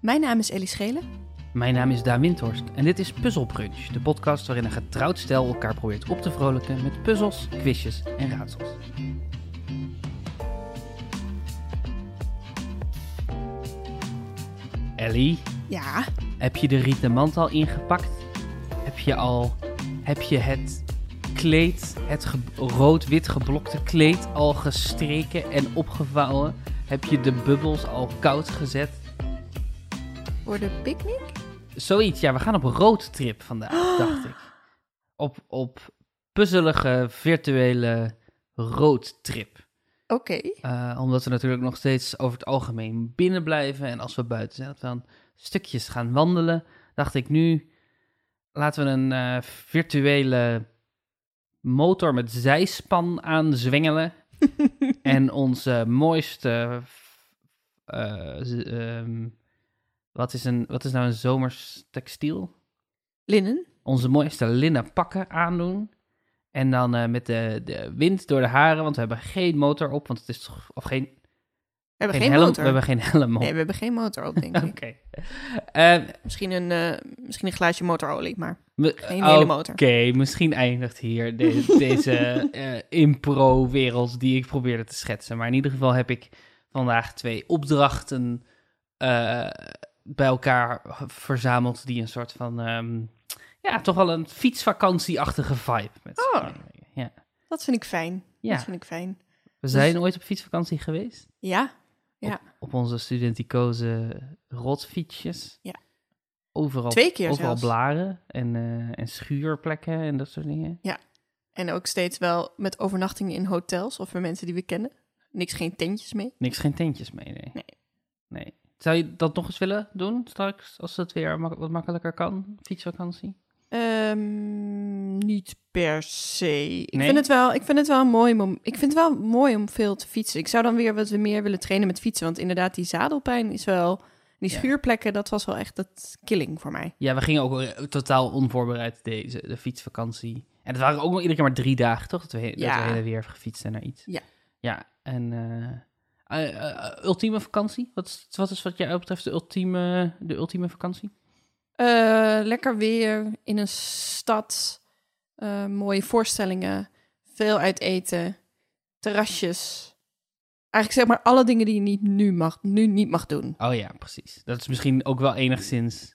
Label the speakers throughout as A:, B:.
A: Mijn naam is Ellie Schelen.
B: Mijn naam is Daan Windhorst en dit is Puzzle Brunch, de podcast waarin een getrouwd stel elkaar probeert op te vrolijken met puzzels, quizjes en raadsels. Ellie,
A: Ja,
B: heb je de rieten mand al ingepakt? Heb je al, heb je het kleed, het ge- rood-wit geblokte kleed al gestreken en opgevouwen? Heb je de bubbels al koud gezet?
A: voor de picknick?
B: Zoiets, ja, we gaan op een roadtrip vandaag, dacht ik. Op, op puzzelige virtuele roadtrip.
A: Oké.
B: Eh, omdat we natuurlijk nog steeds over het algemeen binnen blijven. En als we buiten zijn, dat we dan stukjes gaan wandelen. Dacht ik nu, laten we een eh, virtuele motor met zijspan aanzwengelen. en onze mooiste. eh, z- ehm, wat, is een, wat is nou een zomers textiel?
A: Linnen?
B: onze mooiste linnen pakken aandoen. En dan eh, met de, de wind door de haren, want we hebben geen motor op, want het is toch- of geen,
A: We hebben geen,
B: helm,
A: motor.
B: we hebben geen helm op.
A: Nee, we hebben geen motor op, denk ik.
B: Oké. Eh,
A: Misschien, een, eh, misschien een glaasje motorolie, maar
B: we-
A: geen hele motor.
B: Oké, misschien eindigt hier de- deze eh, impro-wereld die ik probeerde te schetsen. Maar in ieder geval heb ik vandaag twee opdrachten eh, bij elkaar verzameld die een soort van, ehm, ja, toch wel een fietsvakantieachtige vibe. Met z'n
A: Oh.
B: allen. Ja.
A: Dat vind ik fijn.
B: Ja.
A: Dat vind ik fijn.
B: We zijn ooit op fietsvakantie geweest.
A: Ja,
B: Op onze studenticoze rotfietsjes.
A: Ja.
B: Overal,
A: Twee keer
B: overal
A: zelfs.
B: blaren en, eh, en schuurplekken en dat soort dingen.
A: en ook steeds wel met overnachtingen in hotels of bij mensen die we kennen. Niks, geen tentjes mee.
B: Niks, geen tentjes mee, nee.
A: Nee.
B: Nee. Zou je dat nog eens willen doen straks, als het weer mak- wat makkelijker kan, fietsvakantie?
A: Ehm, niet per se. Ik,
B: Nee?
A: vind het wel, ik vind het wel een mooi mom- Ik vind het wel mooi om veel te fietsen. Ik zou dan weer wat meer willen trainen met fietsen. Want inderdaad, die zadelpijn is wel. Die
B: Ja.
A: schuurplekken, dat was wel echt dat killing voor mij.
B: Ja, we gingen ook eh, totaal onvoorbereid deze, de fietsvakantie. En het waren ook nog iedere keer maar drie dagen, toch? Dat we, dat we
A: Ja.
B: heen en weer gefietst zijn naar iets.
A: Ja.
B: Ja, en eh, eh, eh, ultieme vakantie? Wat is, wat is wat jij betreft de ultieme, de ultieme vakantie?
A: Eh, lekker weer in een stad. eh, mooie voorstellingen. Veel uit eten. Terrasjes. Eigenlijk zeg maar alle dingen die je niet nu, mag, nu niet mag doen.
B: Oh ja, precies. Dat is misschien ook wel enigszins...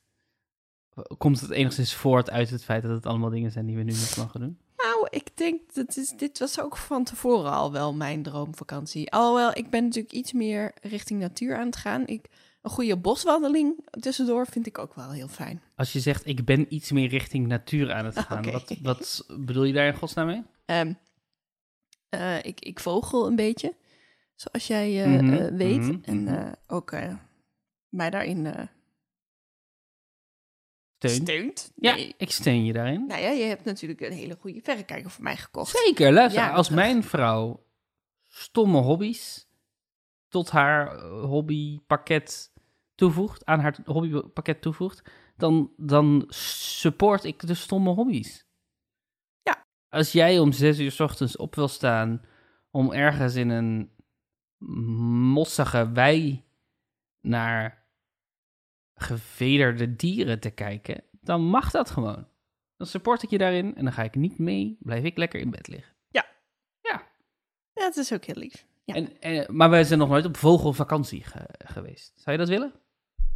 B: Komt het enigszins voort uit het feit dat het allemaal dingen zijn die we nu niet mogen doen?
A: Nou, ik denk dat is, dit was ook van tevoren al wel mijn droomvakantie. Alhoewel, ik ben natuurlijk iets meer richting natuur aan het gaan. Ik, een goede boswandeling tussendoor vind ik ook wel heel fijn.
B: Als je zegt, ik ben iets meer richting natuur aan het gaan,
A: Oké.
B: wat, wat bedoel je daar in godsnaam mee?
A: Ehm, eh, ik, ik vogel een beetje, zoals jij eh,
B: Mhm,
A: eh, weet.
B: mhm,
A: en
B: mhm.
A: eh, ook eh, mij daarin eh,
B: Steun?
A: steunt.
B: Ja,
A: Nee.
B: ik steun je daarin.
A: Nou ja, je hebt natuurlijk een hele goede verrekijker voor mij gekocht.
B: Zeker, luister,
A: Ja,
B: als
A: terug.
B: mijn vrouw stomme hobby's tot haar eh, hobbypakket toevoegt, aan haar hobbypakket toevoegt, dan, dan support ik de stomme hobby's.
A: Ja.
B: Als jij om zes uur 's ochtends op wil staan om ergens in een mossige wei naar gevederde dieren te kijken, dan mag dat gewoon. Dan support ik je daarin en dan ga ik niet mee, blijf ik lekker in bed liggen.
A: Ja, dat is ook heel lief. Ja.
B: En, en- maar wij zijn nog nooit op vogelvakantie ge- geweest. Zou je dat willen?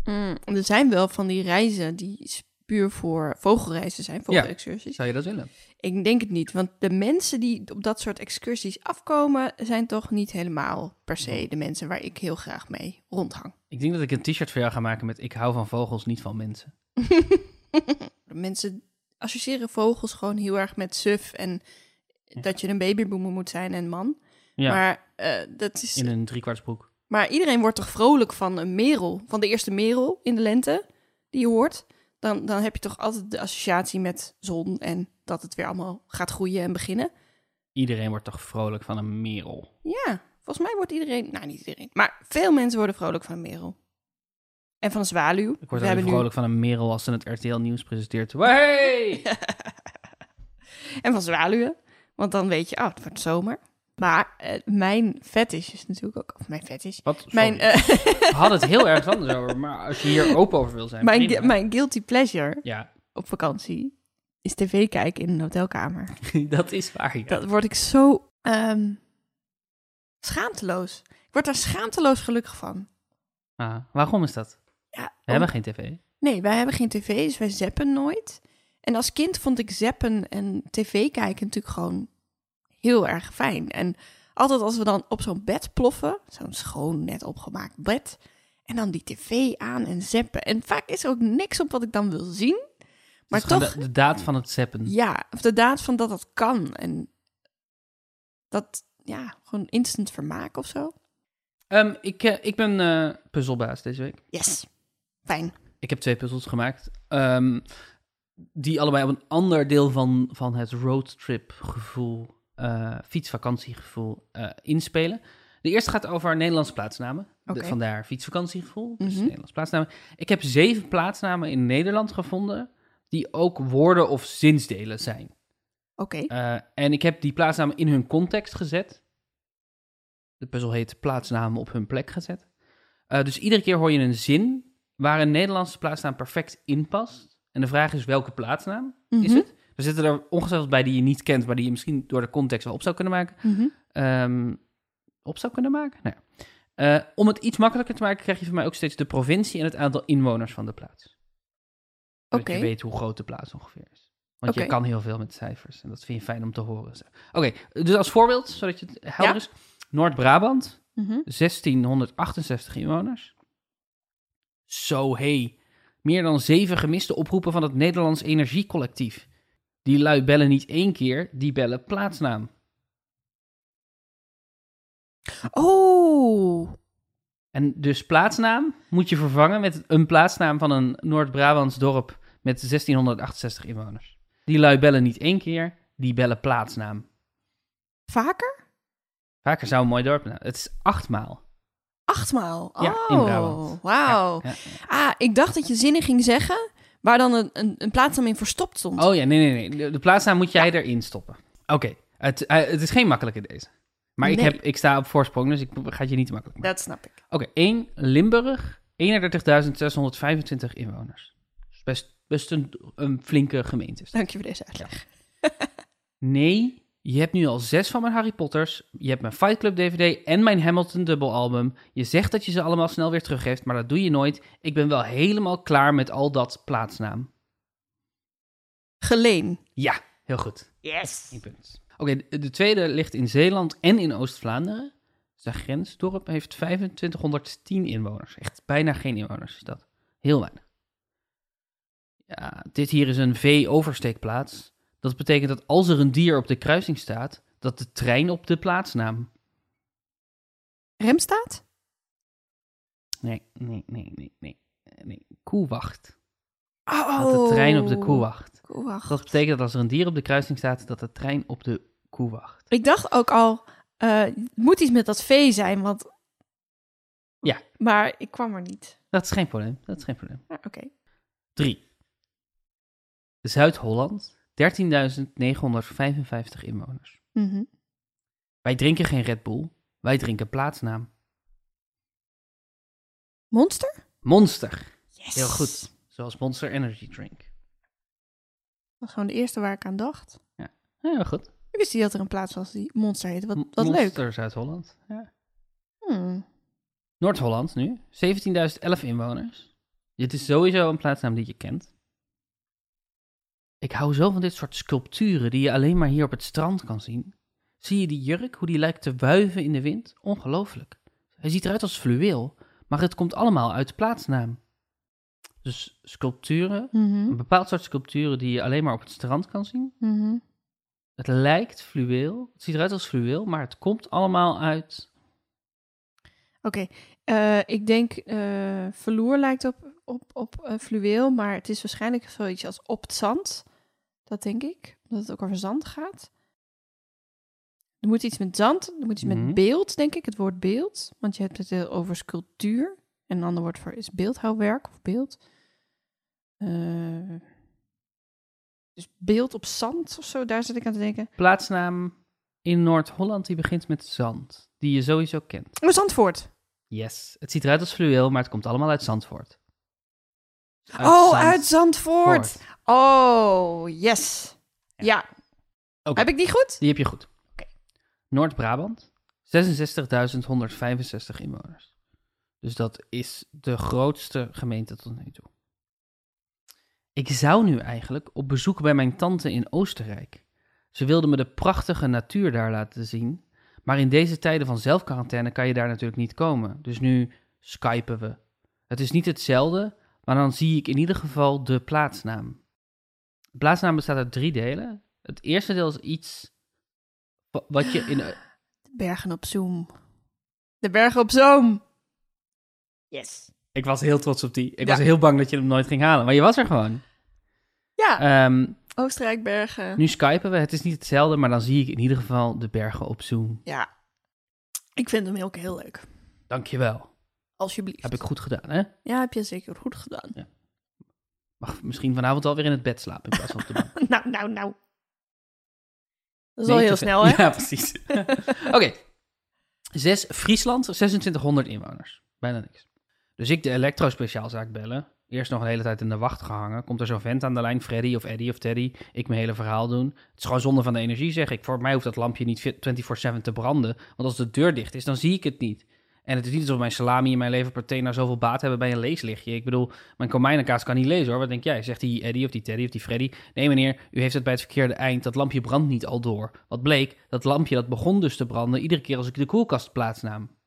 A: Mm, er zijn wel van die reizen die s- puur voor vogelreizen zijn, vogelexcursies.
B: Zou je dat willen?
A: Ik denk het niet, want de mensen die op dat soort excursies afkomen, zijn toch niet helemaal per se de mensen waar ik heel graag mee rondhang.
B: Ik denk dat ik een t-shirt voor jou ga maken met ik hou van vogels, niet van mensen.
A: De mensen associëren vogels gewoon heel erg met suf en dat je een babyboomer moet zijn en man.
B: Ja,
A: Maar, eh, dat is,
B: in een driekwartsbroek.
A: maar iedereen wordt toch vrolijk van een merel, van de eerste merel in de lente die je hoort. Dan, dan heb je toch altijd de associatie met zon en dat het weer allemaal gaat groeien en beginnen.
B: Iedereen wordt toch vrolijk van een merel.
A: Ja, volgens mij wordt iedereen, nou niet iedereen, maar veel mensen worden vrolijk van een merel. En van een zwaluw.
B: Ik word alleen vrolijk van een merel als ze het RTL Nieuws presenteert. Hey!
A: Nu, en van zwaluwen, want dan weet je, oh, het wordt zomer. Maar eh, mijn fetish is natuurlijk ook... Of mijn fetish.
B: Wat?
A: Mijn,
B: Sorry.
A: eh,
B: We hadden het heel erg anders over, maar als je hier open over wil zijn.
A: mijn,
B: prima.
A: gu- mijn guilty pleasure
B: Ja,
A: op vakantie is tv kijken in een hotelkamer.
B: dat is waar. Ja.
A: Dat word ik zo ehm, schaamteloos. Ik word daar schaamteloos gelukkig van.
B: Ah, waarom is dat?
A: Ja,
B: We hebben geen tv.
A: Nee, wij hebben geen tv, dus wij zappen nooit. En als kind vond ik zappen en tv kijken natuurlijk gewoon heel erg fijn. En altijd als we dan op zo'n bed ploffen, zo'n schoon, net opgemaakt bed, en dan die tv aan en zappen. En vaak is er ook niks op wat ik dan wil zien. Maar
B: Het is gewoon
A: toch,
B: De, Hmm. de daad van het zeppen.
A: ja, of de daad van dat dat kan. En dat, ja, gewoon instant vermaak of zo.
B: Ehm, ik, eh, ik ben eh, puzzelbaas deze week.
A: Yes, fijn.
B: Ik heb twee puzzels gemaakt. ehm, die allebei op een ander deel van, van het roadtrip gevoel, eh, fietsvakantiegevoel eh, inspelen. De eerste gaat over Nederlandse plaatsnamen. De-
A: Oké.
B: vandaar fietsvakantiegevoel, dus
A: Mhm.
B: Nederlandse plaatsnamen. Ik heb zeven plaatsnamen in Nederland gevonden die ook woorden of zinsdelen zijn.
A: Oké,
B: Eh, en ik heb die plaatsnamen in hun context gezet. De puzzel heet plaatsnamen op hun plek gezet. Eh, dus iedere keer hoor je een zin waar een Nederlandse plaatsnaam perfect in past. En de vraag is welke plaatsnaam is
A: Mhm,
B: het? We zitten er ongetwijfeld bij die je niet kent, maar die je misschien door de context wel op zou kunnen maken.
A: mhm.
B: Ehm, op zou kunnen maken? Nou, ja. Eh, om het iets makkelijker te maken, krijg je van mij ook steeds de provincie en het aantal inwoners van de plaats. Dat
A: Oké.
B: je weet hoe groot de plaats ongeveer is. Want je
A: Oké.
B: kan heel veel met cijfers en dat vind je fijn om te horen. Zo. Oké, dus als voorbeeld, zodat je het helder
A: Ja.
B: is. Noord-Brabant,
A: mhm.
B: 1668 inwoners. Zo hé. Meer dan zeven gemiste oproepen van het Nederlands Energiecollectief. Die lui bellen niet één keer, die bellen plaatsnaam.
A: Oh,
B: En dus plaatsnaam moet je vervangen met een plaatsnaam van een Noord-Brabants dorp met 1668 inwoners. Die lui bellen niet één keer, die bellen plaatsnaam.
A: vaker?
B: Vaker zou een mooi dorp. nou, het is achtmaal.
A: Achtmaal.
B: Ja,
A: oh,
B: in Brabant.
A: Wauw.
B: Ja, ja.
A: Ah, ik dacht dat je zinnen ging zeggen waar dan een, een, een plaatsnaam in verstopt stond.
B: Oh ja, nee, nee, nee. De, de plaatsnaam moet jij erin stoppen. Oké, het, eh, het is geen makkelijke deze. Maar ik,
A: Nee.
B: heb, ik sta op voorsprong, dus ik ga het je niet te makkelijk maken.
A: Dat snap ik.
B: Oké, 1 Limburg, 31.625 inwoners. Dus best, best een, een flinke gemeente. is dat.
A: Dank je voor deze uitleg.
B: Nee, je hebt nu al zes van mijn Harry Potters. Je hebt mijn Fight Club DVD en mijn Hamilton dubbelalbum. Je zegt dat je ze allemaal snel weer teruggeeft, maar dat doe je nooit. Ik ben wel helemaal klaar met al dat plaatsnaam.
A: Geleen.
B: Ja, heel goed.
A: Yes.
B: Eén punt. Oké, de, de tweede ligt in Zeeland en in Oost-Vlaanderen. Zijn grensdorp heeft 2510 inwoners. Echt bijna geen inwoners is dat. Heel weinig. Ja, dit hier is een V-oversteekplaats. Dat betekent dat als er een dier op de kruising staat, dat de trein op de plaatsnaam.
A: Rem staat?
B: Nee, nee, nee, nee, nee. eh, nee. Koewacht.
A: Oh.
B: Dat de trein op de koewacht.
A: Koewacht.
B: Dat betekent dat als er een dier op de kruising staat, dat de trein op de koewacht.
A: Ik dacht ook al, eh, het moet iets met dat vee zijn, want...
B: Ja.
A: Maar ik kwam er niet.
B: Dat is geen probleem. Dat is geen probleem.
A: Maar Oké.
B: 3. Zuid-Holland, 13.955 inwoners.
A: Mhm.
B: Wij drinken geen Red Bull, wij drinken plaatsnaam.
A: Monster?
B: Monster,
A: Yes.
B: Heel goed. zoals Monster Energy Drink.
A: Dat was gewoon de eerste waar ik aan dacht.
B: Ja, goed.
A: Ik wist niet dat er een plaats was die Monster heette. Wat, wat leuk.
B: Monster Zuid-Holland. Ja.
A: Hmm.
B: Noord-Holland nu, 17.011 inwoners. Dit is sowieso een plaatsnaam die je kent. Ik hou zo van dit soort sculpturen die je alleen maar hier op het strand kan zien. Zie je die jurk, hoe die lijkt te wuiven in de wind? Ongelooflijk. Hij ziet eruit als fluweel, maar het komt allemaal uit de plaatsnaam. Dus sculpturen,
A: Mhm.
B: een bepaald soort sculpturen die je alleen maar op het strand kan zien.
A: Mhm.
B: Het lijkt fluweel, het ziet eruit als fluweel, maar het komt allemaal uit...
A: Oké, eh, ik denk eh verloer lijkt op, op, op eh, fluweel, maar het is waarschijnlijk zoiets als op het zand. Dat denk ik, omdat het ook over zand gaat. Er moet iets met zand, er moet iets
B: Mhm.
A: met beeld, denk ik, het woord beeld. Want je hebt het heel over sculptuur. En een ander woord voor is beeldhouwwerk of beeld. Eh, dus beeld op zand of zo, daar zit ik aan te denken.
B: Plaatsnaam in Noord-Holland die begint met zand, die je sowieso kent.
A: Maar Oh, Zandvoort.
B: Yes, het ziet eruit als fluweel, maar het komt allemaal uit Zandvoort. Uit
A: oh,
B: Zand-
A: uit Zandvoort.
B: Voort.
A: Oh, yes. Ja.
B: Oké.
A: Heb ik die goed?
B: Die heb je goed.
A: Oké.
B: Noord-Brabant, 66.165 inwoners. Dus dat is de grootste gemeente tot nu toe. Ik zou nu eigenlijk op bezoek bij mijn tante in Oostenrijk. Ze wilde me de prachtige natuur daar laten zien. Maar in deze tijden van zelfquarantaine kan je daar natuurlijk niet komen. Dus nu skypen we. Het is niet hetzelfde, maar dan zie ik in ieder geval de plaatsnaam. De plaatsnaam bestaat uit drie delen. Het eerste deel is iets wa- wat je in eh,
A: De bergen op Zoom. De bergen op Zoom. Yes.
B: Ik was heel trots op die. Ik
A: Ja.
B: was heel bang dat je hem nooit ging halen, maar je was er gewoon.
A: Ja,
B: Ehm,
A: Oostenrijkbergen.
B: nu skypen we. Het is niet hetzelfde, maar dan zie ik in ieder geval de bergen op Zoom.
A: Ja. Ik vind hem ook heel leuk.
B: Dankjewel.
A: Alsjeblieft.
B: Heb ik goed gedaan, hè?
A: Ja, heb je zeker goed gedaan.
B: Mag misschien vanavond alweer in het bed slapen in plaats van op de bank.
A: nou, nou, nou. Dat is
B: Nee,
A: al heel
B: te
A: snel,
B: ver.
A: hè?
B: Ja, precies. Oké. Zes, Friesland, 2600 inwoners. Bijna niks. Dus ik de elektrospeciaalzaak bellen. Eerst nog een hele tijd in de wacht gehangen. Komt er zo'n vent aan de lijn, Freddy of Eddie of Teddy. Ik mijn hele verhaal doen. Het is gewoon zonde van de energie, zeg ik. Voor mij hoeft dat lampje niet 24-7 te branden. Want als de deur dicht is, dan zie ik het niet. En het is niet alsof mijn salami en mijn leverpartij nou zoveel baat hebben bij een leeslichtje. Ik bedoel, mijn komijnenkaas kan niet lezen hoor. Wat denk jij? Zegt die Eddie of die Teddy of die Freddy? Nee meneer, u heeft het bij het verkeerde eind. Dat lampje brandt niet al door. Wat bleek, dat lampje dat begon dus te branden iedere keer als ik de koelkast plaatsnaam.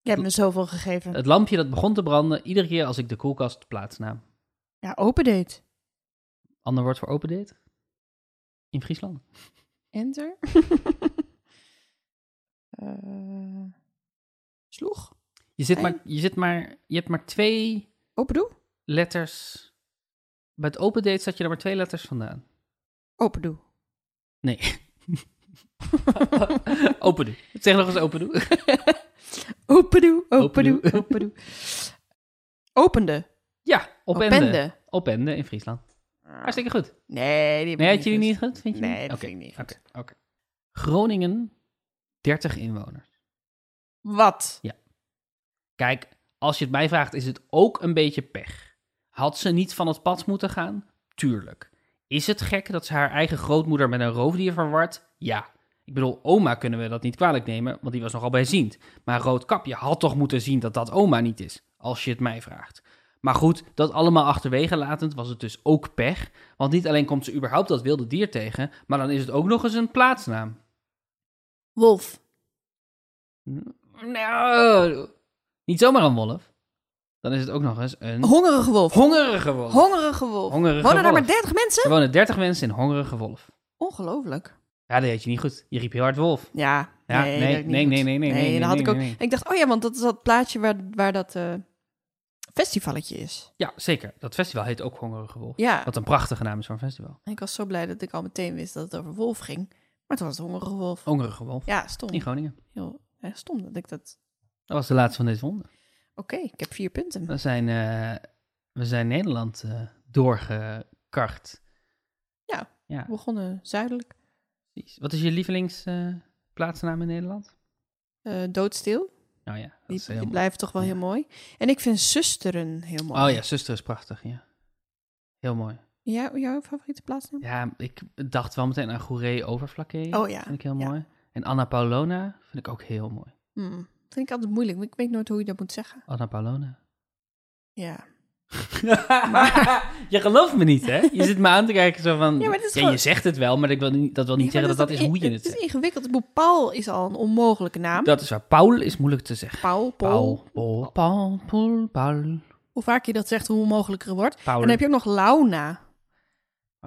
A: Je hebt me zoveel gegeven.
B: Het lampje dat begon te branden iedere keer als ik de koelkast plaatsnaam.
A: Ja, open date.
B: Ander woord voor open date? In Friesland.
A: Enter. Eh, sloeg.
B: Je zit maar, je zit maar, je hebt maar twee
A: Open doe.
B: letters. Bij het open date zat je er maar twee letters vandaan.
A: Open doe.
B: Nee. open doe. Zeg nog eens open doe.
A: Open doe. Open
B: Open
A: doe. Open doe. Opende.
B: Ja, opende. Opende,
A: Opende.
B: in Friesland.
A: Ah.
B: Hartstikke goed.
A: Nee, die heb ik
B: Nee, had je die
A: goed.
B: niet goed? Vind je
A: Nee, dat
B: Oké,
A: vind ik niet
B: Oké,
A: goed.
B: oké. Groningen, 30 inwoners.
A: Wat?
B: Kijk, als je het mij vraagt, is het ook een beetje pech. Had ze niet van het pad moeten gaan? Tuurlijk. Is het gek dat ze haar eigen grootmoeder met een roofdier verwart? Ja. Ik bedoel, oma kunnen we dat niet kwalijk nemen, want die was nogal bijziend. Maar Roodkapje had toch moeten zien dat dat oma niet is, als je het mij vraagt. Maar goed, dat allemaal achterwege latend was het dus ook pech. Want niet alleen komt ze überhaupt dat wilde dier tegen, maar dan is het ook nog eens een plaatsnaam.
A: Wolf.
B: Nou, niet zomaar een wolf. Dan is het ook nog eens een
A: Hongerige wolf.
B: hongerige wolf.
A: Hongerige wolf.
B: Hongerige
A: Wonen daar maar
B: wolf.
A: 30 mensen?
B: er wonen 30 mensen in hongerige wolf.
A: Ongelooflijk.
B: Ja, dat deed je niet goed. Je riep heel hard wolf.
A: Ja,
B: Ja,
A: nee,
B: nee,
A: dat ik niet
B: nee,
A: goed.
B: nee, nee, nee, nee,
A: dan
B: nee,
A: had ik
B: nee,
A: ook.
B: nee.
A: Ik dacht, oh ja, want dat is dat plaatje waar, waar dat eh festivalletje is.
B: Ja, zeker. Dat festival heet ook hongerige wolf.
A: Ja,
B: Wat een prachtige naam is voor een festival.
A: ik was zo blij dat ik al meteen wist dat het over wolf ging. Maar toen was het hongerige wolf.
B: Hongerige wolf.
A: Ja, stom.
B: In Groningen.
A: Heel eh, stom dat ik dat...
B: Dat was de laatste van deze ronde.
A: Oké, ik heb vier punten.
B: We zijn, eh, we zijn Nederland eh, doorgekart.
A: Ja.
B: ja
A: We begonnen zuidelijk.
B: precies. Wat is je lievelingsplaatsnaam in Nederland?
A: Eh, doodstil.
B: Nou ja, dat
A: Die,
B: is
A: die
B: heel mooi.
A: blijft toch wel
B: Ja.
A: heel mooi. En ik vind zusteren heel mooi.
B: Oh ja, zuster is prachtig, ja. Heel mooi.
A: Jou- jouw favoriete plaatsnaam?
B: Ja, ik dacht wel meteen aan Goeree Overflakke.
A: Oh ja.
B: Vind ik heel
A: ja.
B: mooi. En Anna Paulona vind ik ook heel mooi.
A: Hmm. Vind ik altijd moeilijk. want Ik weet nooit hoe je dat moet zeggen.
B: Anna Paulona.
A: Ja.
B: je gelooft me niet, hè? Je zit me aan te kijken zo van...
A: Ja,
B: Ja,
A: maar het is
B: je
A: gewoon-
B: zegt het wel, maar ik wil niet, dat wil niet
A: Ja,
B: zeggen
A: maar
B: dat
A: toch
B: dat is
A: in-
B: hoe je het
A: Het
B: zegt.
A: is ingewikkeld. Ik bedoel, Paul is al een onmogelijke naam.
B: Dat is waar. Paul is moeilijk te zeggen.
A: Paul, Paul.
B: Paul, Paul, Paul, Paul, Paul.
A: Hoe vaker je dat zegt, hoe onmogelijker het wordt.
B: Paul.
A: En dan heb je ook nog Launa.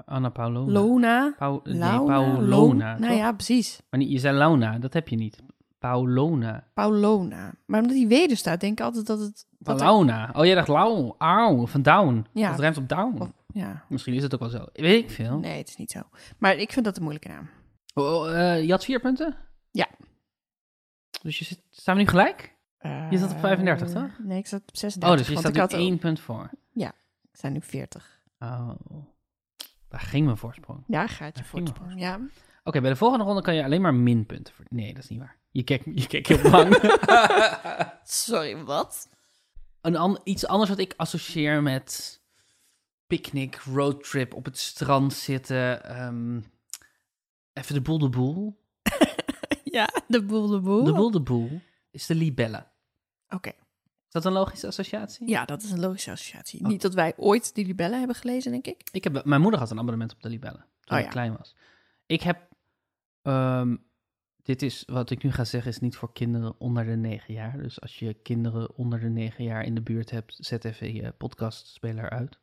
B: Anna Paulona.
A: Lona.
B: Pau- nee,
A: Launa.
B: Paulona.
A: Nou
B: toch?
A: ja, precies.
B: Maar niet, je zei Launa, dat heb je niet. Paulona.
A: Paulona. Maar omdat die weder staat, denk ik altijd dat het... Dat er-
B: Paulona. Oh, jij dacht Lau, au, van down.
A: Ja.
B: Dat ruimt op down.
A: of- ja.
B: Misschien is het ook wel zo. Weet ik veel.
A: Nee, het is niet zo. Maar ik vind dat een moeilijke naam.
B: Oh, eh, je had vier punten?
A: Ja.
B: Dus je zit, staan we nu gelijk? Je zat op
A: Eh,
B: 35, toch?
A: Nee, ik zat op 36.
B: Oh, dus je
A: want
B: staat
A: ik had
B: nu één punt voor.
A: ook- Ik sta nu 40.
B: Oh, daar ging mijn voorsprong.
A: Daar gaat je
B: Daar ging
A: voorsprong. Ja.
B: Oké, bij de volgende ronde kan je alleen maar minpunten ver- Nee, dat is niet waar. Je kijkt, je kijkt heel bang.
A: Sorry, wat?
B: Een an- iets anders wat ik associeer met picknick, roadtrip, op het strand zitten. ehm, even de boel de boel.
A: Ja, de boel, de boel.
B: De boel de boel is de libelle.
A: Oké,
B: Is dat een logische associatie?
A: ja, dat is een logische associatie. Niet dat wij ooit die libellen hebben gelezen, denk ik.
B: Ik heb, mijn moeder had een abonnement op de libellen toen
A: Oh
B: ik
A: ja.
B: klein was. Ik heb, ehm, dit is, wat ik nu ga zeggen is niet voor kinderen onder de negen jaar. Dus als je kinderen onder de negen jaar in de buurt hebt, zet even je podcastspeler uit.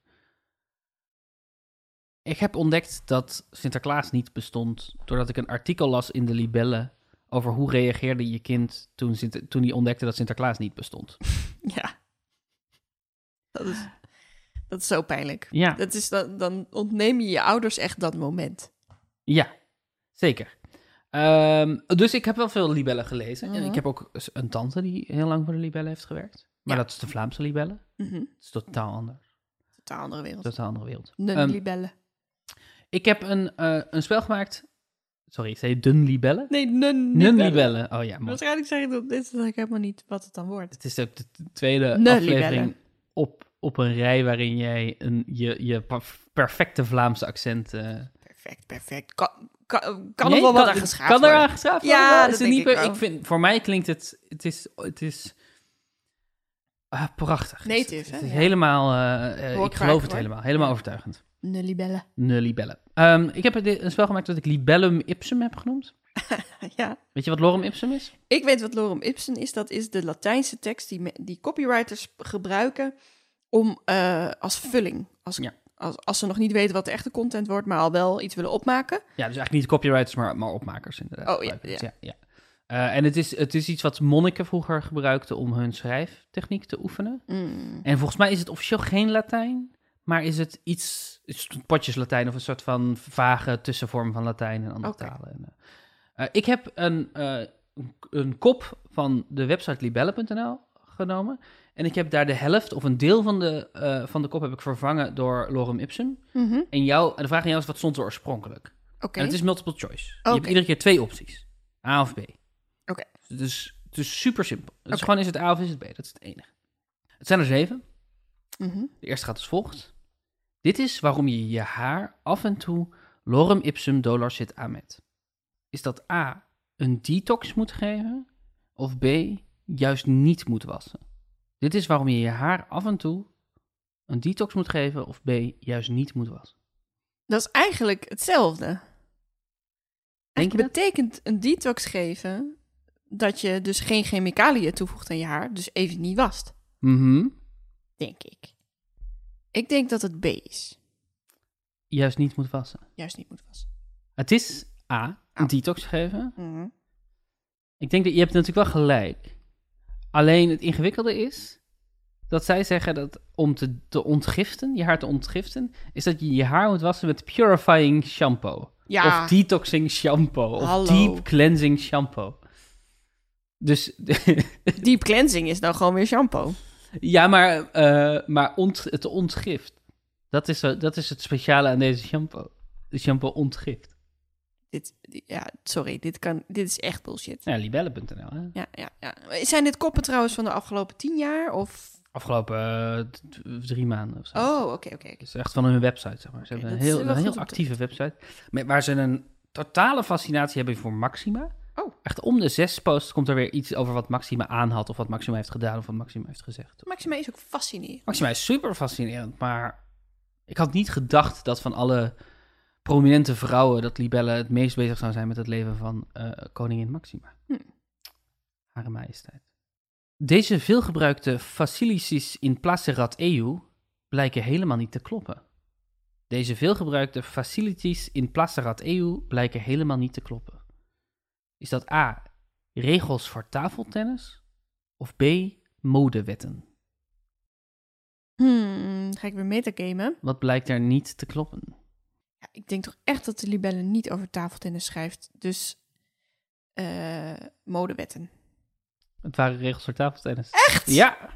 B: Ik heb ontdekt dat Sinterklaas niet bestond doordat ik een artikel las in de libellen over hoe reageerde je kind toen, Sinter- toen hij ontdekte dat Sinterklaas niet bestond.
A: Ja. Dat is, dat is zo pijnlijk.
B: Ja.
A: Dat is dan, dan ontneem je je ouders echt dat moment.
B: Ja, zeker. Ehm, dus ik heb wel veel libellen gelezen. En
A: Mhm.
B: ik heb ook s- een tante die heel lang voor de libellen heeft gewerkt. Maar
A: Ja.
B: dat is de Vlaamse libellen.
A: Mhm.
B: Het is totaal anders.
A: Totaal andere wereld.
B: Totaal andere wereld.
A: Nun
B: Ehm,
A: libellen.
B: ik heb een, eh, een spel gemaakt. Sorry, ik zei dun libellen.
A: Nee, nun
B: Nun
A: libellen.
B: libellen. Oh ja, mooi.
A: Waarschijnlijk zeg ik dat dit is eigenlijk helemaal niet wat het dan wordt.
B: Het is ook de t- tweede
A: Nun
B: aflevering
A: libellen.
B: op, op een rij waarin jij een, je, je perf- perfecte Vlaamse accent... eh,
A: Perfect, perfect. Kan, kan, kan
B: Nee,
A: er wel wat aan
B: kan-
A: geschaafd
B: Kan er
A: worden.
B: aan geschaafd
A: Ja,
B: worden? maar
A: dat
B: is het
A: denk
B: niet
A: ik
B: meer-
A: wel.
B: ik vind, voor mij klinkt het, het is, het is ah, prachtig. is het.
A: Native,
B: het,
A: hè?
B: is
A: Ja.
B: helemaal, eh, eh,
A: Hoor
B: ik
A: ik
B: geloof
A: vaak,
B: het
A: hoor.
B: helemaal, helemaal
A: Ja.
B: overtuigend.
A: Nun libellen.
B: Ne libellen. Ehm, ik heb een een spel gemaakt dat ik libellum ipsum heb genoemd.
A: Ja.
B: Weet je wat lorem ipsum is?
A: Ik weet wat lorem ipsum is. Dat is de Latijnse tekst die, me- die copywriters gebruiken om eh, als vulling. Als,
B: Ja.
A: als, als ze nog niet weten wat de echte content wordt, maar al wel iets willen opmaken.
B: Ja, dus eigenlijk niet copywriters, maar, maar opmakers inderdaad.
A: Oh, ja,
B: Gebruiken het, ja. Eh, en het is, het is iets wat monniken vroeger gebruikten om hun schrijftechniek te oefenen. En volgens mij is het officieel geen Latijn, maar is het iets, is het potjes Latijn of een soort van vage tussenvorm van Latijn en andere
A: Oké.
B: talen. En, eh, eh, ik heb een, eh, een- een kop van de website libelle.nl genomen en ik heb daar de helft of een deel van de, eh, van de kop heb ik vervangen door lorem ipsum.
A: Mhm.
B: En, jou, en de vraag aan jou is, wat stond er oorspronkelijk?
A: Oké.
B: En het is multiple choice. Je hebt
A: Oké.
B: iedere keer twee opties. A of B.
A: Oké.
B: Dus het is super simpel. Het is
A: Oké.
B: gewoon is het A of is het B. Dat is het enige. Het zijn er zeven.
A: Mhm.
B: De eerste gaat als volgt. Dit is waarom je je haar af en toe lorem ipsum dolor zit amet. Is dat A, een detox moet geven of B, juist niet moet wassen? Dit is waarom je je haar af en toe een detox moet geven of B, juist niet moet wassen.
A: Dat is eigenlijk hetzelfde.
B: Denk je dat?
A: Betekent een detox geven dat je dus geen chemicaliën toevoegt aan je haar, dus even niet wast,
B: Mhm.
A: denk ik. Ik denk dat het B is.
B: Juist niet moet wassen.
A: Juist niet moet wassen.
B: Het is A, een
A: Ah.
B: detox geven.
A: Mhm.
B: Ik denk dat je hebt natuurlijk wel gelijk. Alleen het ingewikkelde is dat zij zeggen dat om te, te ontgiften, je haar te ontgiften, is dat je je haar moet wassen met purifying shampoo.
A: Ja.
B: Of detoxing shampoo. Of
A: Hallo.
B: deep cleansing shampoo. Dus
A: Deep cleansing is dan gewoon weer shampoo.
B: ja, maar, eh, maar ont, het ontgift. Dat is, zo- dat is het speciale aan deze shampoo. De shampoo ontgift.
A: Dit, die- ja, sorry, dit, kan, dit is echt bullshit.
B: Ja, libelle.nl. Hè?
A: Ja, ja, ja. Zijn dit koppen trouwens van de afgelopen tien jaar? Of...
B: Afgelopen eh, d- d- drie maanden of zo.
A: Oh, oké, oké. oké.
B: Het is echt van hun website, zeg maar. Ze
A: Oké,
B: hebben een
A: dat is
B: heel,
A: wel
B: een heel
A: goed om te
B: actieve website. Met, waar ze een totale fascinatie hebben voor Maxima.
A: Oh.
B: Echt om de zes posts komt er weer iets over wat Maxima aanhad. Of wat Maxima heeft gedaan. Of wat Maxima heeft gezegd.
A: Maxima is ook fascinerend.
B: Maxima is super fascinerend. Maar ik had niet gedacht dat van alle prominente vrouwen. dat Libelle het meest bezig zou zijn met het leven van eh, koningin Maxima.
A: Hm.
B: Hare majesteit. Deze veelgebruikte facilities in placerat EU blijken helemaal niet te kloppen. Deze veelgebruikte facilities in Placerat EU blijken helemaal niet te kloppen. Is dat A. Regels voor tafeltennis? Of B. Modewetten?
A: Hmm, ga ik weer metagamen?
B: Wat blijkt er niet te kloppen?
A: Ja, ik denk toch echt dat de libelle niet over tafeltennis schrijft. Dus eh, modewetten.
B: Het waren regels voor tafeltennis. Echt? Ja.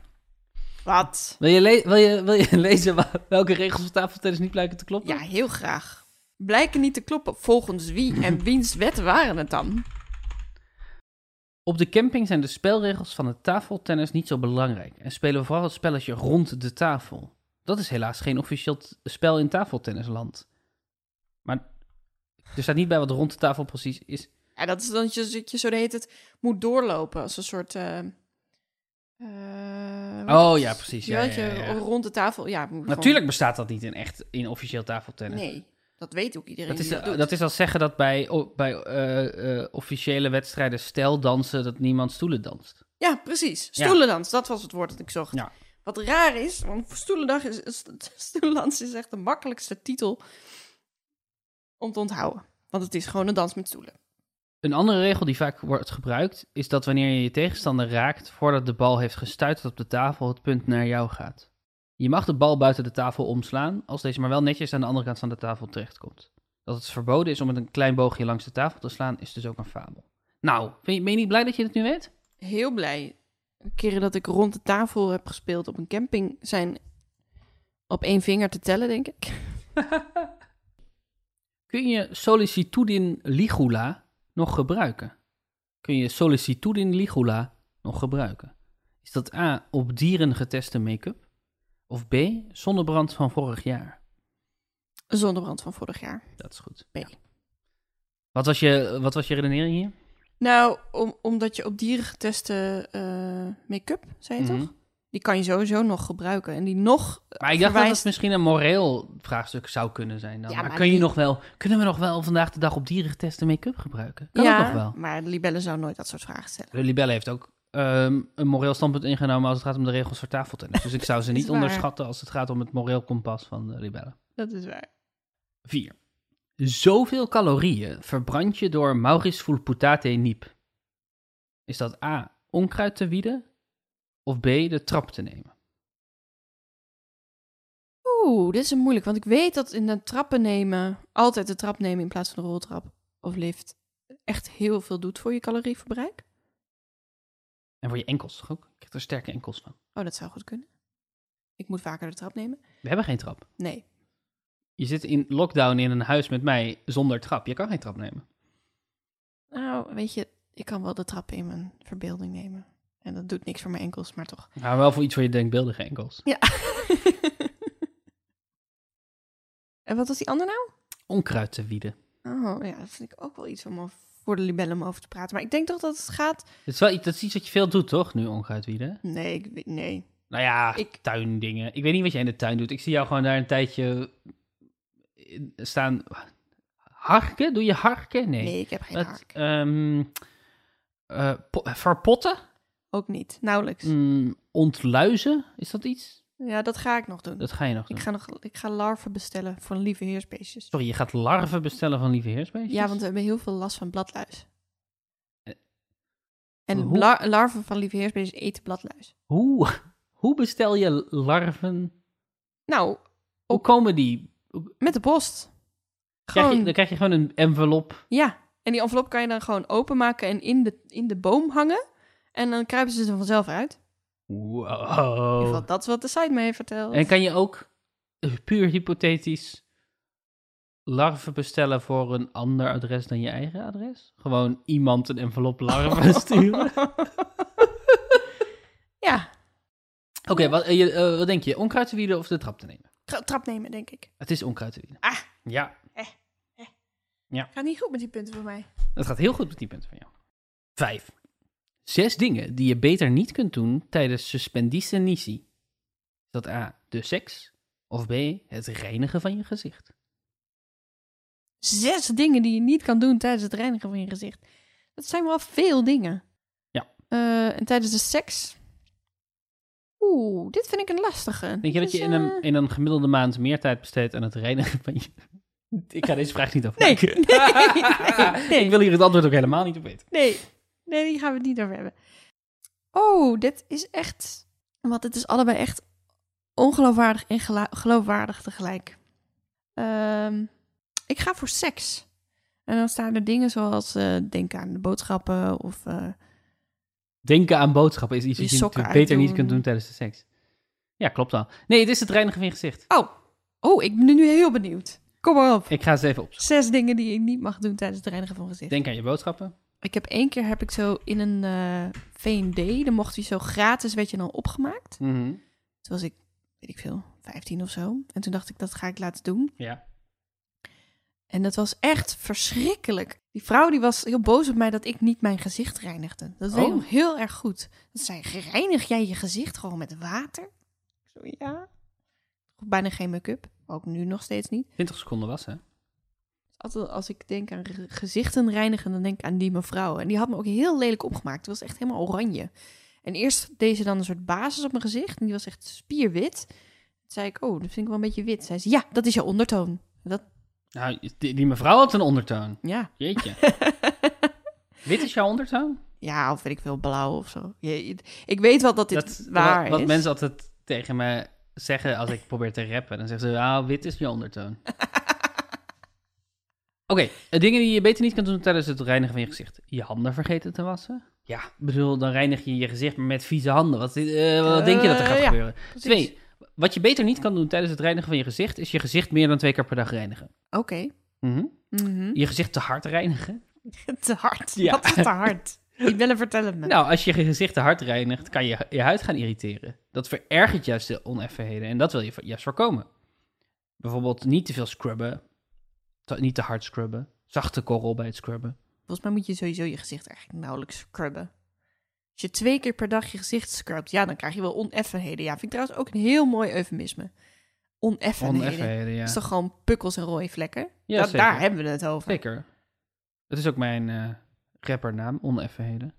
A: Wat?
B: Wil je, le- wil je, wil je lezen wa- welke regels voor tafeltennis niet blijken te kloppen?
A: Ja, heel graag. blijken niet te kloppen. Volgens wie en wiens wet waren het dan?
B: Op de camping zijn de spelregels van het tafeltennis niet zo belangrijk en spelen we vooral het spelletje rond de tafel. Dat is helaas geen officieel t- spel in tafeltennisland. Maar er staat niet bij wat rond de tafel precies is.
A: Ja, dat is dan dat je, dat je zo heet het moet doorlopen als een soort. eh, eh, hoe heet
B: Oh,
A: het?
B: ja, precies.
A: Je
B: Ja,
A: weet
B: ja,
A: je,
B: ja, ja.
A: rond de tafel. Ja, moet gewoon-
B: Natuurlijk bestaat dat niet in echt in officieel tafeltennis.
A: Nee, dat weet ook iedereen.
B: Dat is,
A: die dat doet.
B: dat is als zeggen dat bij, o- bij eh, eh, officiële wedstrijden stel dansen dat niemand stoelen danst.
A: Ja, precies. Stoelendans, dat was het woord dat ik zocht.
B: Ja.
A: Wat raar is, want stoelendag is, is- stoelendans is echt de makkelijkste titel om te onthouden. Want het is gewoon een dans met stoelen.
B: Een andere regel die vaak wordt gebruikt is dat wanneer je je tegenstander raakt voordat de bal heeft gestuiterd op de tafel, het punt naar jou gaat. Je mag de bal buiten de tafel omslaan als deze maar wel netjes aan de andere kant van de tafel terechtkomt. Dat het verboden is om met een klein boogje langs de tafel te slaan is dus ook een fabel. Nou, ben je, ben je niet blij dat je het nu weet?
A: Heel blij. De keren dat ik rond de tafel heb gespeeld op een camping zijn op één vinger te tellen, denk ik.
B: Kun je sollicitudin ligula nog gebruiken? Kun je sollicitudin ligula nog gebruiken? Is dat A, op dieren geteste make-up? Of B, zonnebrand van vorig jaar?
A: Zonnebrand van vorig jaar.
B: Dat is goed.
A: B.
B: Wat was je, wat was je redenering hier?
A: Nou, om, omdat je op dieren geteste eh, make-up, zei je
B: Mhm.
A: toch? Die kan je sowieso nog gebruiken. En die nog
B: Maar ik dacht dat
A: verwijst-
B: het misschien een moreel vraagstuk zou kunnen zijn. Dan.
A: Ja,
B: maar
A: maar
B: kun je
A: die-
B: nog wel, kunnen we nog wel vandaag de dag op dieren geteste make-up gebruiken? Kan
A: ja,
B: dat nog wel?
A: maar de libellen zou nooit dat soort vragen stellen.
B: De Libelle heeft ook ehm, een moreel standpunt ingenomen als het gaat om de regels voor tafeltennis. Dus ik zou ze
A: Is
B: niet
A: waar.
B: onderschatten als het gaat om het moreel kompas van de Libelle.
A: Dat is waar.
B: 4. Zoveel calorieën verbrand je door Maurice Fulputate Niep. Is dat A. Onkruid te wieden? Of B. De trap te nemen?
A: Oeh, dit is een moeilijk, want ik weet dat in de trappen nemen, altijd de trap nemen in plaats van de roltrap of lift, echt heel veel doet voor je calorieverbruik.
B: En voor je enkels toch ook? Je krijgt er sterke enkels van.
A: Oh, dat zou goed kunnen. Ik moet vaker de trap nemen.
B: We hebben geen trap.
A: Nee.
B: Je zit in lockdown in een huis met mij zonder trap. Je kan geen trap nemen.
A: Nou, weet je, ik kan wel de trap in mijn verbeelding nemen. En dat doet niks voor mijn enkels, maar toch.
B: Maar wel voor iets voor je denkbeeldige enkels.
A: Ja. en wat was die ander nou?
B: Onkruid te wieden.
A: Oh, ja, dat vind ik ook wel iets om over- voor de libellen om over te praten. Maar ik denk toch dat het gaat...
B: Dat is, wel, iets- dat is iets wat je veel doet, toch? Nu onkruid wieden.
A: Nee, ik, weet- nee.
B: Nou ja,
A: Ik-
B: tuindingen. Ik weet niet wat jij in de tuin doet. Ik zie jou gewoon daar een tijdje in- staan. Harken? Doe je harken? Nee.
A: nee. ik heb geen
B: Wat,
A: haak.
B: ehm, eh, po- verpotten?
A: Ook niet, nauwelijks.
B: Mm, ontluizen? Is dat iets?
A: Ja, dat ga ik nog doen.
B: Dat ga je nog doen.
A: Ik ga, nog, ik ga larven bestellen voor lieve heersbeestjes.
B: Sorry, je gaat larven bestellen van lieve heersbeestjes?
A: Ja, want we hebben heel veel last van bladluis.
B: Eh,
A: En
B: hoe-
A: la- larven van lieve heersbeestjes eten bladluis.
B: Hoe, hoe bestel je larven?
A: Nou,
B: Hoe komen die?
A: met de post.
B: Krijg je,
A: Gewoon-
B: dan krijg je gewoon een envelop.
A: Ja, en die envelop kan je dan gewoon openmaken en in de, in de boom hangen. En dan kruipen ze er vanzelf uit. In ieder
B: Wow.
A: geval, dat is wat de site me heeft verteld.
B: Oh. En kan je ook eh, puur hypothetisch larven bestellen voor een ander adres dan je eigen adres? Gewoon iemand een envelop larven sturen? Oké,
A: ja,
B: wat, eh, je- eh, wat denk je? Onkruid te wieden of de trap te nemen?
A: tra- trap nemen, denk ik.
B: Het is onkruid te wieden.
A: Ah.
B: Ja,
A: Gaat niet goed met die punten voor mij.
B: dat gaat heel goed met die punten van jou. Vijf. Zes dingen die je beter niet kunt doen tijdens suspendistenisi. Is dat A, de seks? Of B, het reinigen van je gezicht?
A: Zes dingen die je niet kan doen tijdens het reinigen van je gezicht. Dat zijn wel veel dingen.
B: Ja.
A: Eh, en tijdens de seks? Oeh, dit vind ik een lastige. eh,
B: Denk je dat je in een, in een gemiddelde maand meer tijd besteedt aan het reinigen van je... Ik ga deze vraag niet afmaken.
A: Nee, nee, nee, nee.
B: Ik wil hier het antwoord ook helemaal niet op weten.
A: Nee, nee, die gaan we het niet over hebben. Oh, dit is echt. Want het is allebei echt ongeloofwaardig en gela- geloofwaardig tegelijk. Ehm, ik ga voor seks. En dan staan er dingen zoals: eh, denk aan de boodschappen of. eh,
B: Denken aan boodschappen is iets
A: Je
B: wat je
A: sokken
B: natuurlijk beter niet
A: uitdoen.
B: kunt doen tijdens de seks. Ja, klopt al. Nee, het is het reinigen van je gezicht.
A: Oh, oh, ik ben nu heel benieuwd. Kom maar op.
B: Ik ga eens even opzoeken.
A: Zes dingen die je niet mag doen tijdens het reinigen van gezicht.
B: Denk aan je boodschappen.
A: Ik heb één keer heb ik zo in een eh V&D, dan mocht hij zo gratis, werd je dan opgemaakt.
B: Mhm.
A: Toen was ik, weet ik veel, 15 of zo. En toen dacht ik, dat ga ik laten doen.
B: Ja.
A: En dat was echt verschrikkelijk. Die vrouw die was heel boos op mij dat ik niet mijn gezicht reinigde. Dat weet ik
B: Oh.
A: nog heel erg goed. Dat zei, reinig jij je gezicht gewoon met water? Ik Zo, ja. Bijna geen make-up. Ook nu nog steeds niet.
B: 20 seconden wassen.
A: Altijd als ik denk aan ge- gezichten reinigen, dan denk ik aan die mevrouw. En die had me ook heel lelijk opgemaakt. Het was echt helemaal oranje. En eerst deed ze dan een soort basis op mijn gezicht. En die was echt spierwit. Toen zei ik, oh, dat vind ik wel een beetje wit. Zei ze, ja, dat is jouw ondertoon.
B: Nou, die, die mevrouw had een ondertoon.
A: Ja.
B: Jeetje. Wit is jouw ondertoon?
A: ja, of weet ik veel, blauw of zo. Je- je- ik weet wel dat dit
B: dat
A: waar
B: wat, wat
A: is.
B: mensen altijd tegen me zeggen als ik probeer te rappen. Dan zeggen ze, ah, wit is je ondertoon. Oké, eh, dingen die je beter niet kan doen tijdens het reinigen van je gezicht. Je handen vergeten te wassen. Ja, ik bedoel, dan reinig je je gezicht maar met vieze handen. Wat, eh, wat
A: Eh,
B: denk je dat er gaat
A: ja,
B: gebeuren?
A: Precies.
B: Twee, wat je beter niet kan doen tijdens het reinigen van je gezicht... is je gezicht meer dan twee keer per dag reinigen.
A: Oké.
B: Mhm.
A: Mhm.
B: Je gezicht te hard reinigen.
A: Te hard.
B: Ja.
A: Wat is te hard? Die willen vertellen me.
B: Nou, als je je gezicht te hard reinigt, kan je je huid gaan irriteren. Dat verergert juist de oneffenheden en dat wil je vo- juist voorkomen. Bijvoorbeeld niet te veel scrubben, te- niet te hard scrubben, zachte korrel bij het scrubben.
A: Volgens mij moet je sowieso je gezicht eigenlijk nauwelijks scrubben. Als je twee keer per dag je gezicht scrubt, ja, dan krijg je wel oneffenheden. Ja, vind ik trouwens ook een heel mooi eufemisme. Oneffenheden.
B: Oneffenheden, ja.
A: Dat is toch gewoon pukkels en rode vlekken?
B: Ja,
A: Da-
B: zeker.
A: daar hebben we het over.
B: Zeker. Dat is ook mijn eh rappernaam, oneffenheden.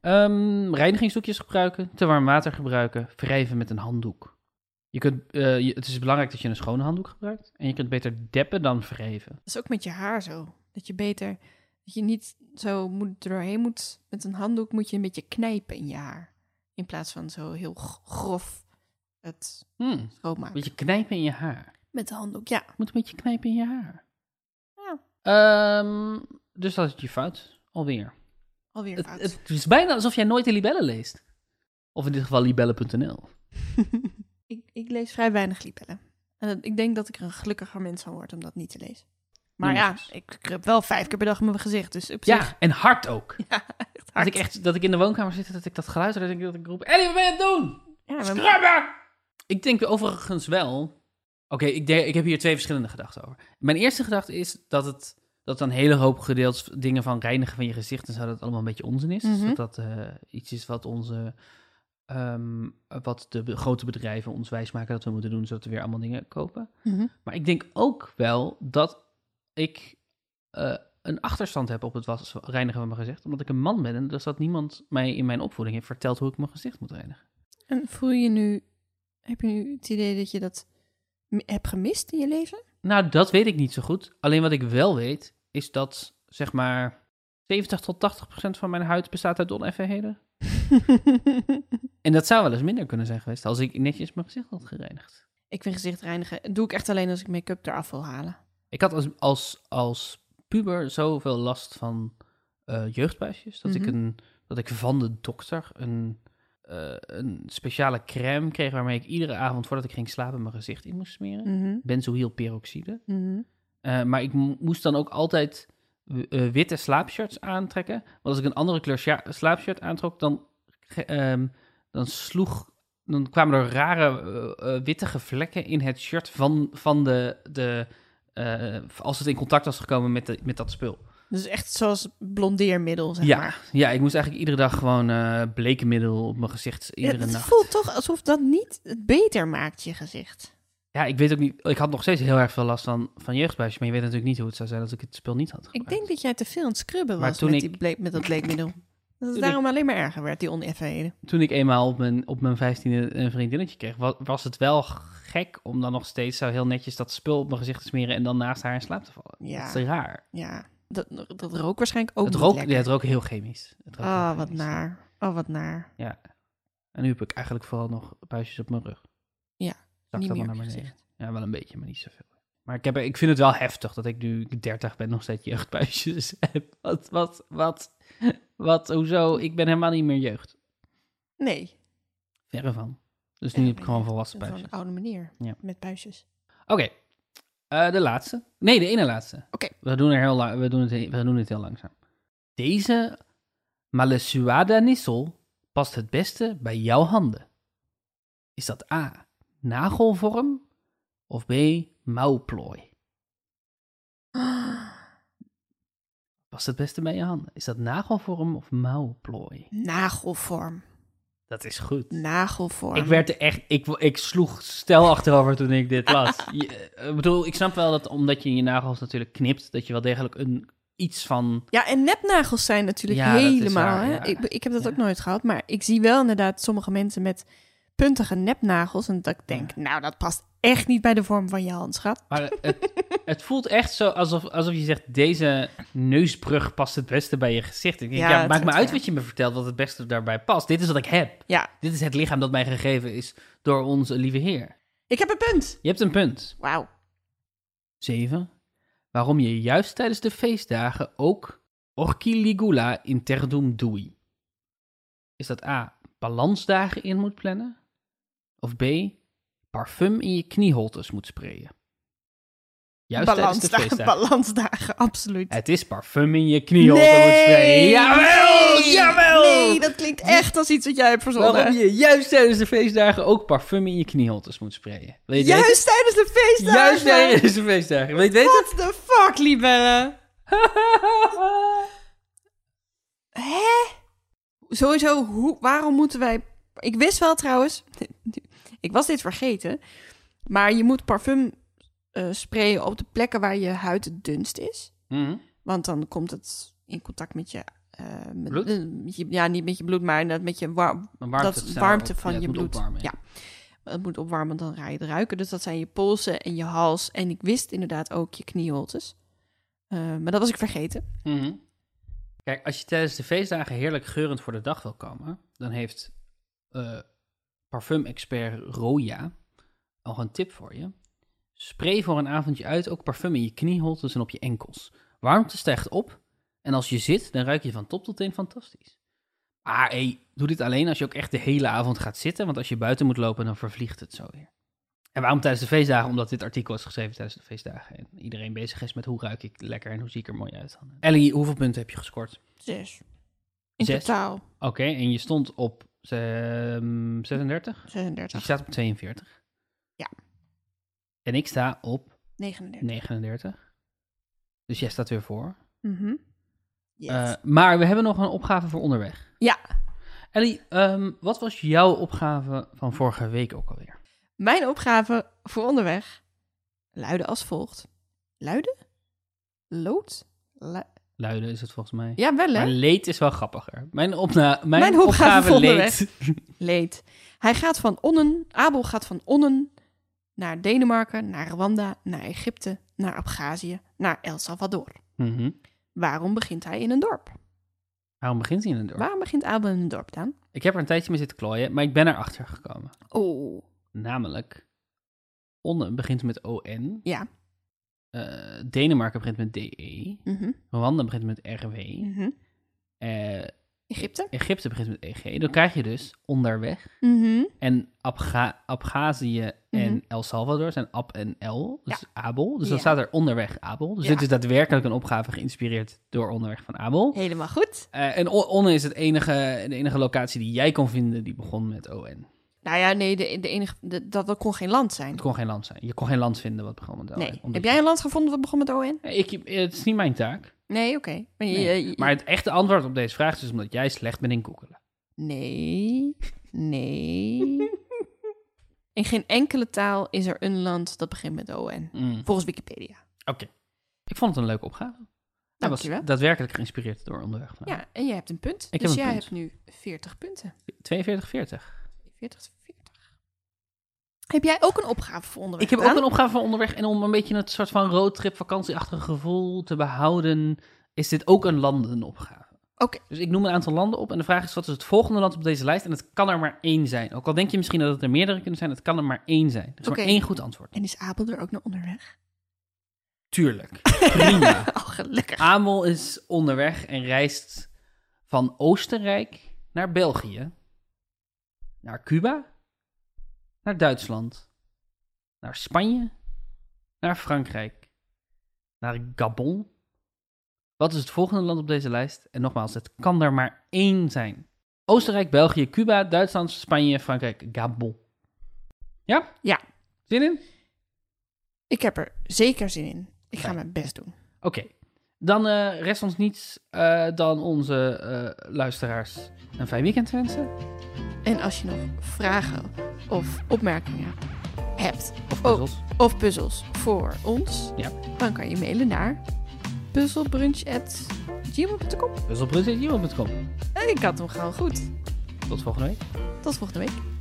B: Ehm reinigingsdoekjes gebruiken, te warm water gebruiken, wrijven met een handdoek. Je kunt, eh, je- het is belangrijk dat je een schone handdoek gebruikt. En je kunt beter deppen dan wrijven.
A: Dat is ook met je haar zo. Dat je beter, dat je niet zo moet, er doorheen moet. Met een handdoek moet je een beetje knijpen in je haar. In plaats van zo heel g- grof het
B: Hmm, een
A: schoonmaken.
B: beetje knijpen in je haar.
A: Met de handdoek, ja.
B: moet een beetje knijpen in je haar.
A: Ja.
B: Ehm, dus dat is je fout. Alweer.
A: Alweer
B: Het,
A: fout.
B: het is bijna alsof jij nooit de libellen leest. Of in dit geval libellen.nl.
A: ik, ik lees vrij weinig libellen. En dat- ik denk dat ik er een gelukkiger mens van word om dat niet te lezen. Maar
B: Noem
A: ja,
B: eens.
A: ik scrub wel vijf keer per dag mijn gezicht. Dus op zich,
B: dus. Ja, en hard ook.
A: ja, echt
B: Dat
A: hard.
B: ik, echt, dat ik in de woonkamer zit, dat ik dat geluid hoor, dat ik, dat ik roep... Ellie, wat ben je aan het doen?
A: Ja, maar-
B: Scrubben! Ik denk overigens wel... Oké, ik, denk- ik heb hier twee verschillende gedachten over. Mijn eerste gedachte is dat het... Dat een hele hoop gedeeltes dingen van reinigen van je gezicht en zo, dat het allemaal een beetje onzin is.
A: Mhm.
B: Dat dat eh, iets is wat onze... ehm, wat de be- grote bedrijven ons wijsmaken dat we moeten doen, zodat we weer allemaal dingen kopen.
A: Mhm.
B: Maar ik denk ook wel dat ik eh, een achterstand heb op het was, reinigen van mijn gezicht. Omdat ik een man ben en dus dat niemand mij in mijn opvoeding heeft verteld hoe ik mijn gezicht moet reinigen.
A: En voel je nu, heb je nu het idee dat je dat mi- hebt gemist in je leven?
B: Nou, dat weet ik niet zo goed. Alleen wat ik wel weet, is dat zeg maar 70 tot 80 procent van mijn huid bestaat uit oneffenheden. En dat zou wel eens minder kunnen zijn geweest als ik netjes mijn gezicht had gereinigd.
A: ik vind gezicht reinigen, dat doe ik echt alleen als ik make-up eraf wil halen.
B: Ik had als, als, als puber zoveel last van eh, jeugdbuisjes. Dat, ik
A: Mhm.
B: een, dat ik van de dokter een, eh, een speciale crème kreeg... waarmee ik iedere avond voordat ik ging slapen mijn gezicht in moest smeren.
A: Mhm,
B: Benzoylperoxide.
A: mhm.
B: Eh, maar ik mo- moest dan ook altijd w- eh, witte slaapshirts aantrekken. Want als ik een andere kleur sja- slaapshirt aantrok, dan, ge- ehm, dan sloeg... Dan kwamen er rare eh, eh, wittige vlekken in het shirt van, van de... de eh, als het in contact was gekomen met, de, met dat spul.
A: Dus echt zoals blondeermiddel, zeg
B: ja,
A: maar.
B: ja, ik moest eigenlijk iedere dag gewoon eh bleke middel op mijn gezicht.
A: Ja,
B: Iedere
A: het
B: nacht.
A: voelt toch alsof dat niet het beter maakt, je gezicht.
B: Ja, ik weet ook niet... Ik had nog steeds heel erg veel last van, van jeugdbuisjes. Maar je weet natuurlijk niet hoe het zou zijn als ik het spul niet had
A: Ik
B: gebruikt.
A: denk dat jij te veel aan het scrubben
B: Maar
A: was
B: toen
A: met,
B: ik-
A: die bleek, met dat bleekmiddel. Dat
B: ik-
A: het daarom alleen maar erger werd, die oneffenheden.
B: toen ik eenmaal op mijn, op mijn 15e een vriendinnetje kreeg, was, was het wel gek om dan nog steeds zo heel netjes dat spul op mijn gezicht te smeren en dan naast haar in slaap te vallen.
A: Ja.
B: Dat is raar.
A: Ja, dat, dat rook waarschijnlijk ook
B: het,
A: niet
B: rook,
A: lekker.
B: ja, het rook heel chemisch. Het rook heel
A: Oh, wat
B: chemisch.
A: naar. Oh, wat naar.
B: En nu heb ik eigenlijk vooral nog buisjes op mijn rug.
A: Ja,
B: Zakt
A: niet meer
B: allemaal naar
A: op je
B: beneden.
A: gezicht.
B: Ja, wel een beetje, maar niet zoveel. Maar ik, heb, ik vind het wel heftig dat ik nu 30 ben nog steeds jeugdbuisjes heb. Wat, wat, wat, wat, hoezo? Ik ben helemaal niet meer jeugd.
A: Nee.
B: Verre van. Dus nu heb ik gewoon volwassen
A: Op
B: buisjes.
A: een oude manier.
B: Ja.
A: Met puistjes.
B: Oké. Eh, de laatste. Nee, de ene laatste.
A: Oké.
B: We, doen er heel la- we, doen het, he- we doen het heel langzaam. Deze Malesuada Nissel past het beste bij jouw handen. Is dat A. Nagelvorm of B. Mouwplooi? Past het beste bij je handen? Is dat nagelvorm of mouwplooi?
A: Nagelvorm.
B: Dat is goed.
A: Nagelvorm.
B: Ik werd er echt, ik, ik sloeg stel achterover toen ik dit las. Je- eh, ik bedoel, ik snap wel dat omdat je je nagels natuurlijk knipt, dat je wel degelijk een iets van.
A: Ja, en nepnagels zijn natuurlijk
B: Ja, dat is
A: helemaal.
B: waar,
A: hè?
B: ja.
A: Ik, ik heb dat
B: Ja.
A: ook nooit gehad, maar ik zie wel inderdaad sommige mensen met puntige nepnagels. En dat ik denk, nou, dat past echt niet bij de vorm van je hand, schat.
B: Maar het, het voelt echt zo alsof, alsof je zegt: deze neusbrug past het beste bij je gezicht. Ik denk,
A: Ja,
B: ja,
A: het
B: maakt
A: is
B: me
A: het,
B: uit
A: ja.
B: wat je me vertelt wat het beste daarbij past. Dit is wat ik heb.
A: Ja,
B: Dit is het lichaam dat mij gegeven is door onze lieve Heer.
A: ik heb een punt.
B: Je hebt een punt.
A: Wauw.
B: 7. Waarom je juist tijdens de feestdagen ook Orchiligula interdum dui. Is dat A. Balansdagen in moet plannen? Of B. Parfum in je knieholtes moet sprayen? Juist tijdens de
A: Balansdagen,
B: feestdagen.
A: balansdagen, absoluut.
B: Het is parfum in je knieholtes moet sprayen. Jawel!
A: Nee!
B: Jawel!
A: Nee, dat klinkt echt als iets wat jij hebt
B: Waarom
A: verzonnen.
B: je juist tijdens de feestdagen ook parfum in je knieholtes moet sprayen? Wil je het weten?
A: Juist tijdens de feestdagen.
B: Juist tijdens de feestdagen. Wil je het weten?
A: What the fuck, Libelle? Hè? Sowieso, hoe, waarom moeten wij... Ik wist wel trouwens... ik was dit vergeten. Maar je moet parfum eh, sprayen op de plekken waar je huid het dunst is.
B: Mhm.
A: Want dan komt het in contact met je... eh, met-
B: Bloed?
A: eh, met je- ja, niet met je bloed, maar inderdaad met je war-
B: Dan warmt
A: dat
B: het
A: is
B: sneller
A: warmte
B: op.
A: van
B: Ja, het
A: je
B: moet
A: bloed.
B: opwarmen,
A: ja. Het eh, moet opwarmen, dan ga je het ruiken. Dus dat zijn je polsen en je hals. En ik wist inderdaad ook je knieholtes. Eh, maar dat was ik vergeten.
B: Mhm. Kijk, als je tijdens de feestdagen heerlijk geurend voor de dag wil komen, dan heeft eh parfum-expert Roya nog een tip voor je. Spray voor een avondje uit ook parfum in je knieholtes en op je enkels. Warmte stijgt op en als je zit, dan ruik je van top tot teen fantastisch. Maar hey, doe dit alleen als je ook echt de hele avond gaat zitten, want als je buiten moet lopen, dan vervliegt het zo weer. En waarom tijdens de feestdagen? Omdat dit artikel is geschreven tijdens de feestdagen. En iedereen bezig is met hoe ruik ik lekker en hoe zie ik er mooi uit. Ellie, hoeveel punten heb je gescoord?
A: Zes. In
B: Zes?
A: totaal
B: Oké, en je stond op ehm, 36? Dus je
A: 36.
B: staat op 42.
A: Ja.
B: En ik sta op
A: 39.
B: 39. Dus jij staat weer voor.
A: Mhm. Yes.
B: Eh, maar we hebben nog een opgave voor onderweg.
A: Ja.
B: Ellie, ehm, wat was jouw opgave van vorige week ook alweer?
A: Mijn opgave voor onderweg luidde als volgt. Luiden? Lood? Lu-
B: Luiden is het volgens mij.
A: ja, wel hè?
B: Maar leed is wel grappiger. Mijn, opna- mijn,
A: Mijn opgave
B: opgave,
A: voor onderweg.
B: leed.
A: leed. Hij gaat van Onnen, Abel gaat van Onnen naar Denemarken, naar Rwanda, naar Egypte, naar Abhazie, naar El Salvador.
B: Mhm.
A: Waarom begint hij in een dorp?
B: Waarom begint hij in een dorp?
A: Waarom begint Abel in een dorp dan?
B: Ik heb er een tijdje mee zitten klooien, maar ik ben erachter gekomen.
A: Oh,
B: Namelijk, Onne begint met ON.
A: Ja.
B: Eh, Denemarken begint met DE.
A: mhm,
B: Rwanda begint met RW.
A: mhm.
B: Eh,
A: Egypte?
B: Egypte begint met EG. Dan krijg je dus onderweg.
A: Mhm,
B: En Abga Abhazie en
A: Mhm.
B: El Salvador zijn Ab en El, dus Abel. Dus dan
A: Ja.
B: staat er onderweg Abel. Dus
A: Ja.
B: dit is daadwerkelijk een opgave geïnspireerd door onderweg van Abel.
A: Helemaal goed.
B: Eh, en O- Onne is het enige, de enige locatie die jij kon vinden die begon met ON.
A: Nou ja, nee, de, de enige, de- dat, dat kon geen land zijn.
B: Het kon geen land zijn. Je kon geen land vinden wat begon met ON.
A: Nee.
B: Omdat
A: Heb
B: je-
A: jij een land gevonden wat begon met ON?
B: Nee, Ik, het is niet mijn taak.
A: Nee, oké. Maar, je-
B: Nee.
A: je-
B: Maar het echte antwoord op deze vraag is dus omdat jij slecht bent in googelen.
A: Nee, nee. In geen enkele taal is er een land dat begint met ON.
B: Mm.
A: Volgens Wikipedia.
B: Oké. Ik vond het een leuke opgave. Hij was
A: Dankjewel.
B: daadwerkelijk geïnspireerd door onderweg. van
A: Ja, en jij hebt een punt.
B: heb
A: dus
B: een
A: jij
B: punt.
A: hebt nu 40 punten.
B: 42, 40.
A: 40, 40. Heb jij ook een opgave voor onderweg?
B: Ik heb ook een opgave van onderweg. En om een beetje het soort van roadtrip vakantieachtig gevoel te behouden, is dit ook een landenopgave.
A: Oké.
B: Dus ik noem een aantal landen op en de vraag is, wat is het volgende land op deze lijst? En het kan er maar één zijn. Ook al denk je misschien dat het er meerdere kunnen zijn, het kan er maar één zijn. Er is
A: Oké.
B: maar één goed antwoord.
A: En is Abel er ook naar onderweg?
B: Tuurlijk. Prima.
A: Oh, gelukkig.
B: Amel is onderweg en reist van Oostenrijk naar België, naar Cuba, naar Duitsland, naar Spanje, naar Frankrijk. Naar Gabon. Wat is het volgende land op deze lijst? En nogmaals, het kan er maar één zijn. Oostenrijk, België, Cuba, Duitsland, Spanje, Frankrijk, Gabon. Ja?
A: Ja.
B: Zin in?
A: Ik heb er zeker zin in. Ik ga
B: Fijn.
A: mijn best doen.
B: Oké. Dan eh, rest ons niets eh, dan onze eh, luisteraars een fijn weekend te wensen.
A: En als je nog vragen of opmerkingen hebt
B: Of
A: Oh.
B: puzzels.
A: of puzzels voor ons,
B: Ja.
A: dan kan je mailen naar puzzelbrunch.gmail.com.
B: Puzzelbrunch.com.
A: En ik had hem gewoon goed.
B: Tot volgende week.
A: Tot volgende week.